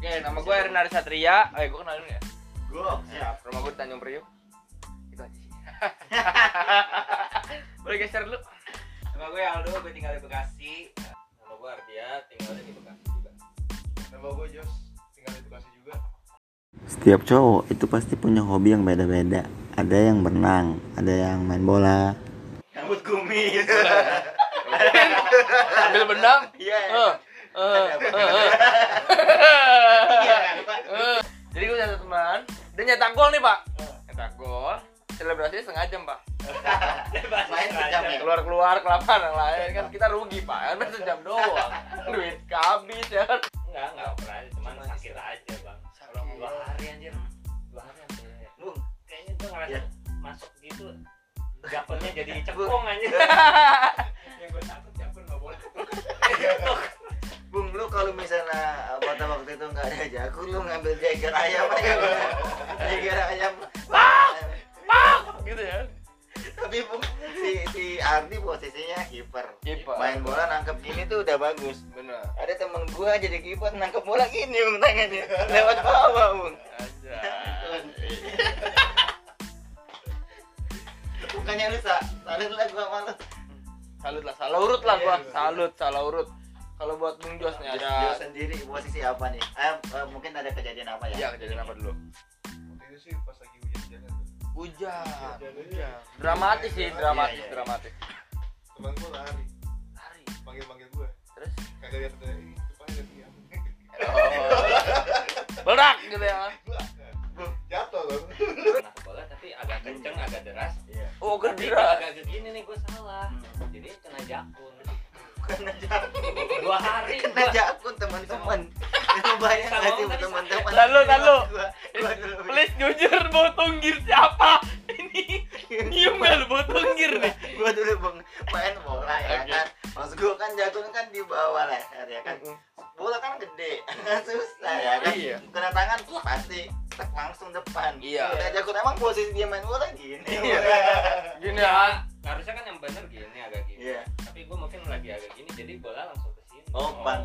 Nama gue Renari Satria. Eh, gue kenalin ya. Gue siap. Rumah gue di Tanjung Priuk. Itu aja sih. Boleh geser dulu. Nama gue Aldo, gue tinggal di Bekasi. Nama gue Ardia, tinggal di Bekasi juga. Nama gue Jos, tinggal di Bekasi juga. Setiap cowok itu pasti punya hobi yang beda-beda. Ada yang berenang, ada yang main bola. Rambut kumis. Ambil benang. Iya. Eh, eh, eh, eh. Iya, Pak. Eh. Jadi gue punya satu teman. Dia nyetak gol nih pak. Eh. Nyetak gol. Selebrasinya setengah jam pak. Main sejam ya. keluar keluar kelamaan yang lain kan kita rugi pak kan cuma sejam doang duit habis ya kan Enggak, enggak pernah, cuman sakit aja, Bang. Kalau dua hari anjir. Dua hari anjir. Lu kayaknya gue ngerasa Iya. masuk gitu dapetnya jadi cekung anjir. Yang gue takut dapet enggak boleh. Bung, lu kalau misalnya pada waktu itu nggak ada jago, lu ngambil jeger ayam aja. Bung. jeger ayam. gitu ya Tapi Bung, si si Ardi posisinya kiper. Kiper. Main bola nangkep gini tuh udah bagus. bener Ada temen gua jadi kiper nangkep bola gini Bung tangannya. Lewat bawah Bung. aja Bukannya lu sa, salut lah gua malu. salut lah salah urut lah gua salut salah urut kalau buat bung jos nih Dia ada sendiri posisi apa nih? Eh, eh, mungkin ada kejadian apa ya? ya kejadian apa dulu Waktu itu sih pas lagi hujan-hujanan tuh. Ah, hujan Hujan-hujanan. dramatis sih dramatis Iya, iya. dramatis Teman gue lari, lari panggil-panggil gue. terus Kagak lihat ada ini, depan ada dia. Eh, oh. berak gitu ya kan Gua Jatuh kan? loh. Nah, bola tapi agak kenceng, agak deras. Iya. oh Tapi gembira agak gini nih gue salah. Hmm. Jadi kena jakun. Bukan aja. Dua hari kena gua. jakun teman-teman lu bayang Sama gak sih lu tadi teman-teman Lalu, lalu. Gua- gua dulu. Please jujur bau tunggir siapa? Ini nyium gak lu bau tunggir nih? gua dulu bang main bola ya Oke. kan maksud gua kan jakun kan di bawah leher ya kan bola kan gede susah ya kan Iya. kena tangan pasti tek langsung depan Iya. kena jakun emang posisi dia main bola gini Gini Ya, kan? harusnya kan yang bener gini agak gini. iya Tapi gue mungkin lagi agak gini jadi bola langsung ke sini. oh bantu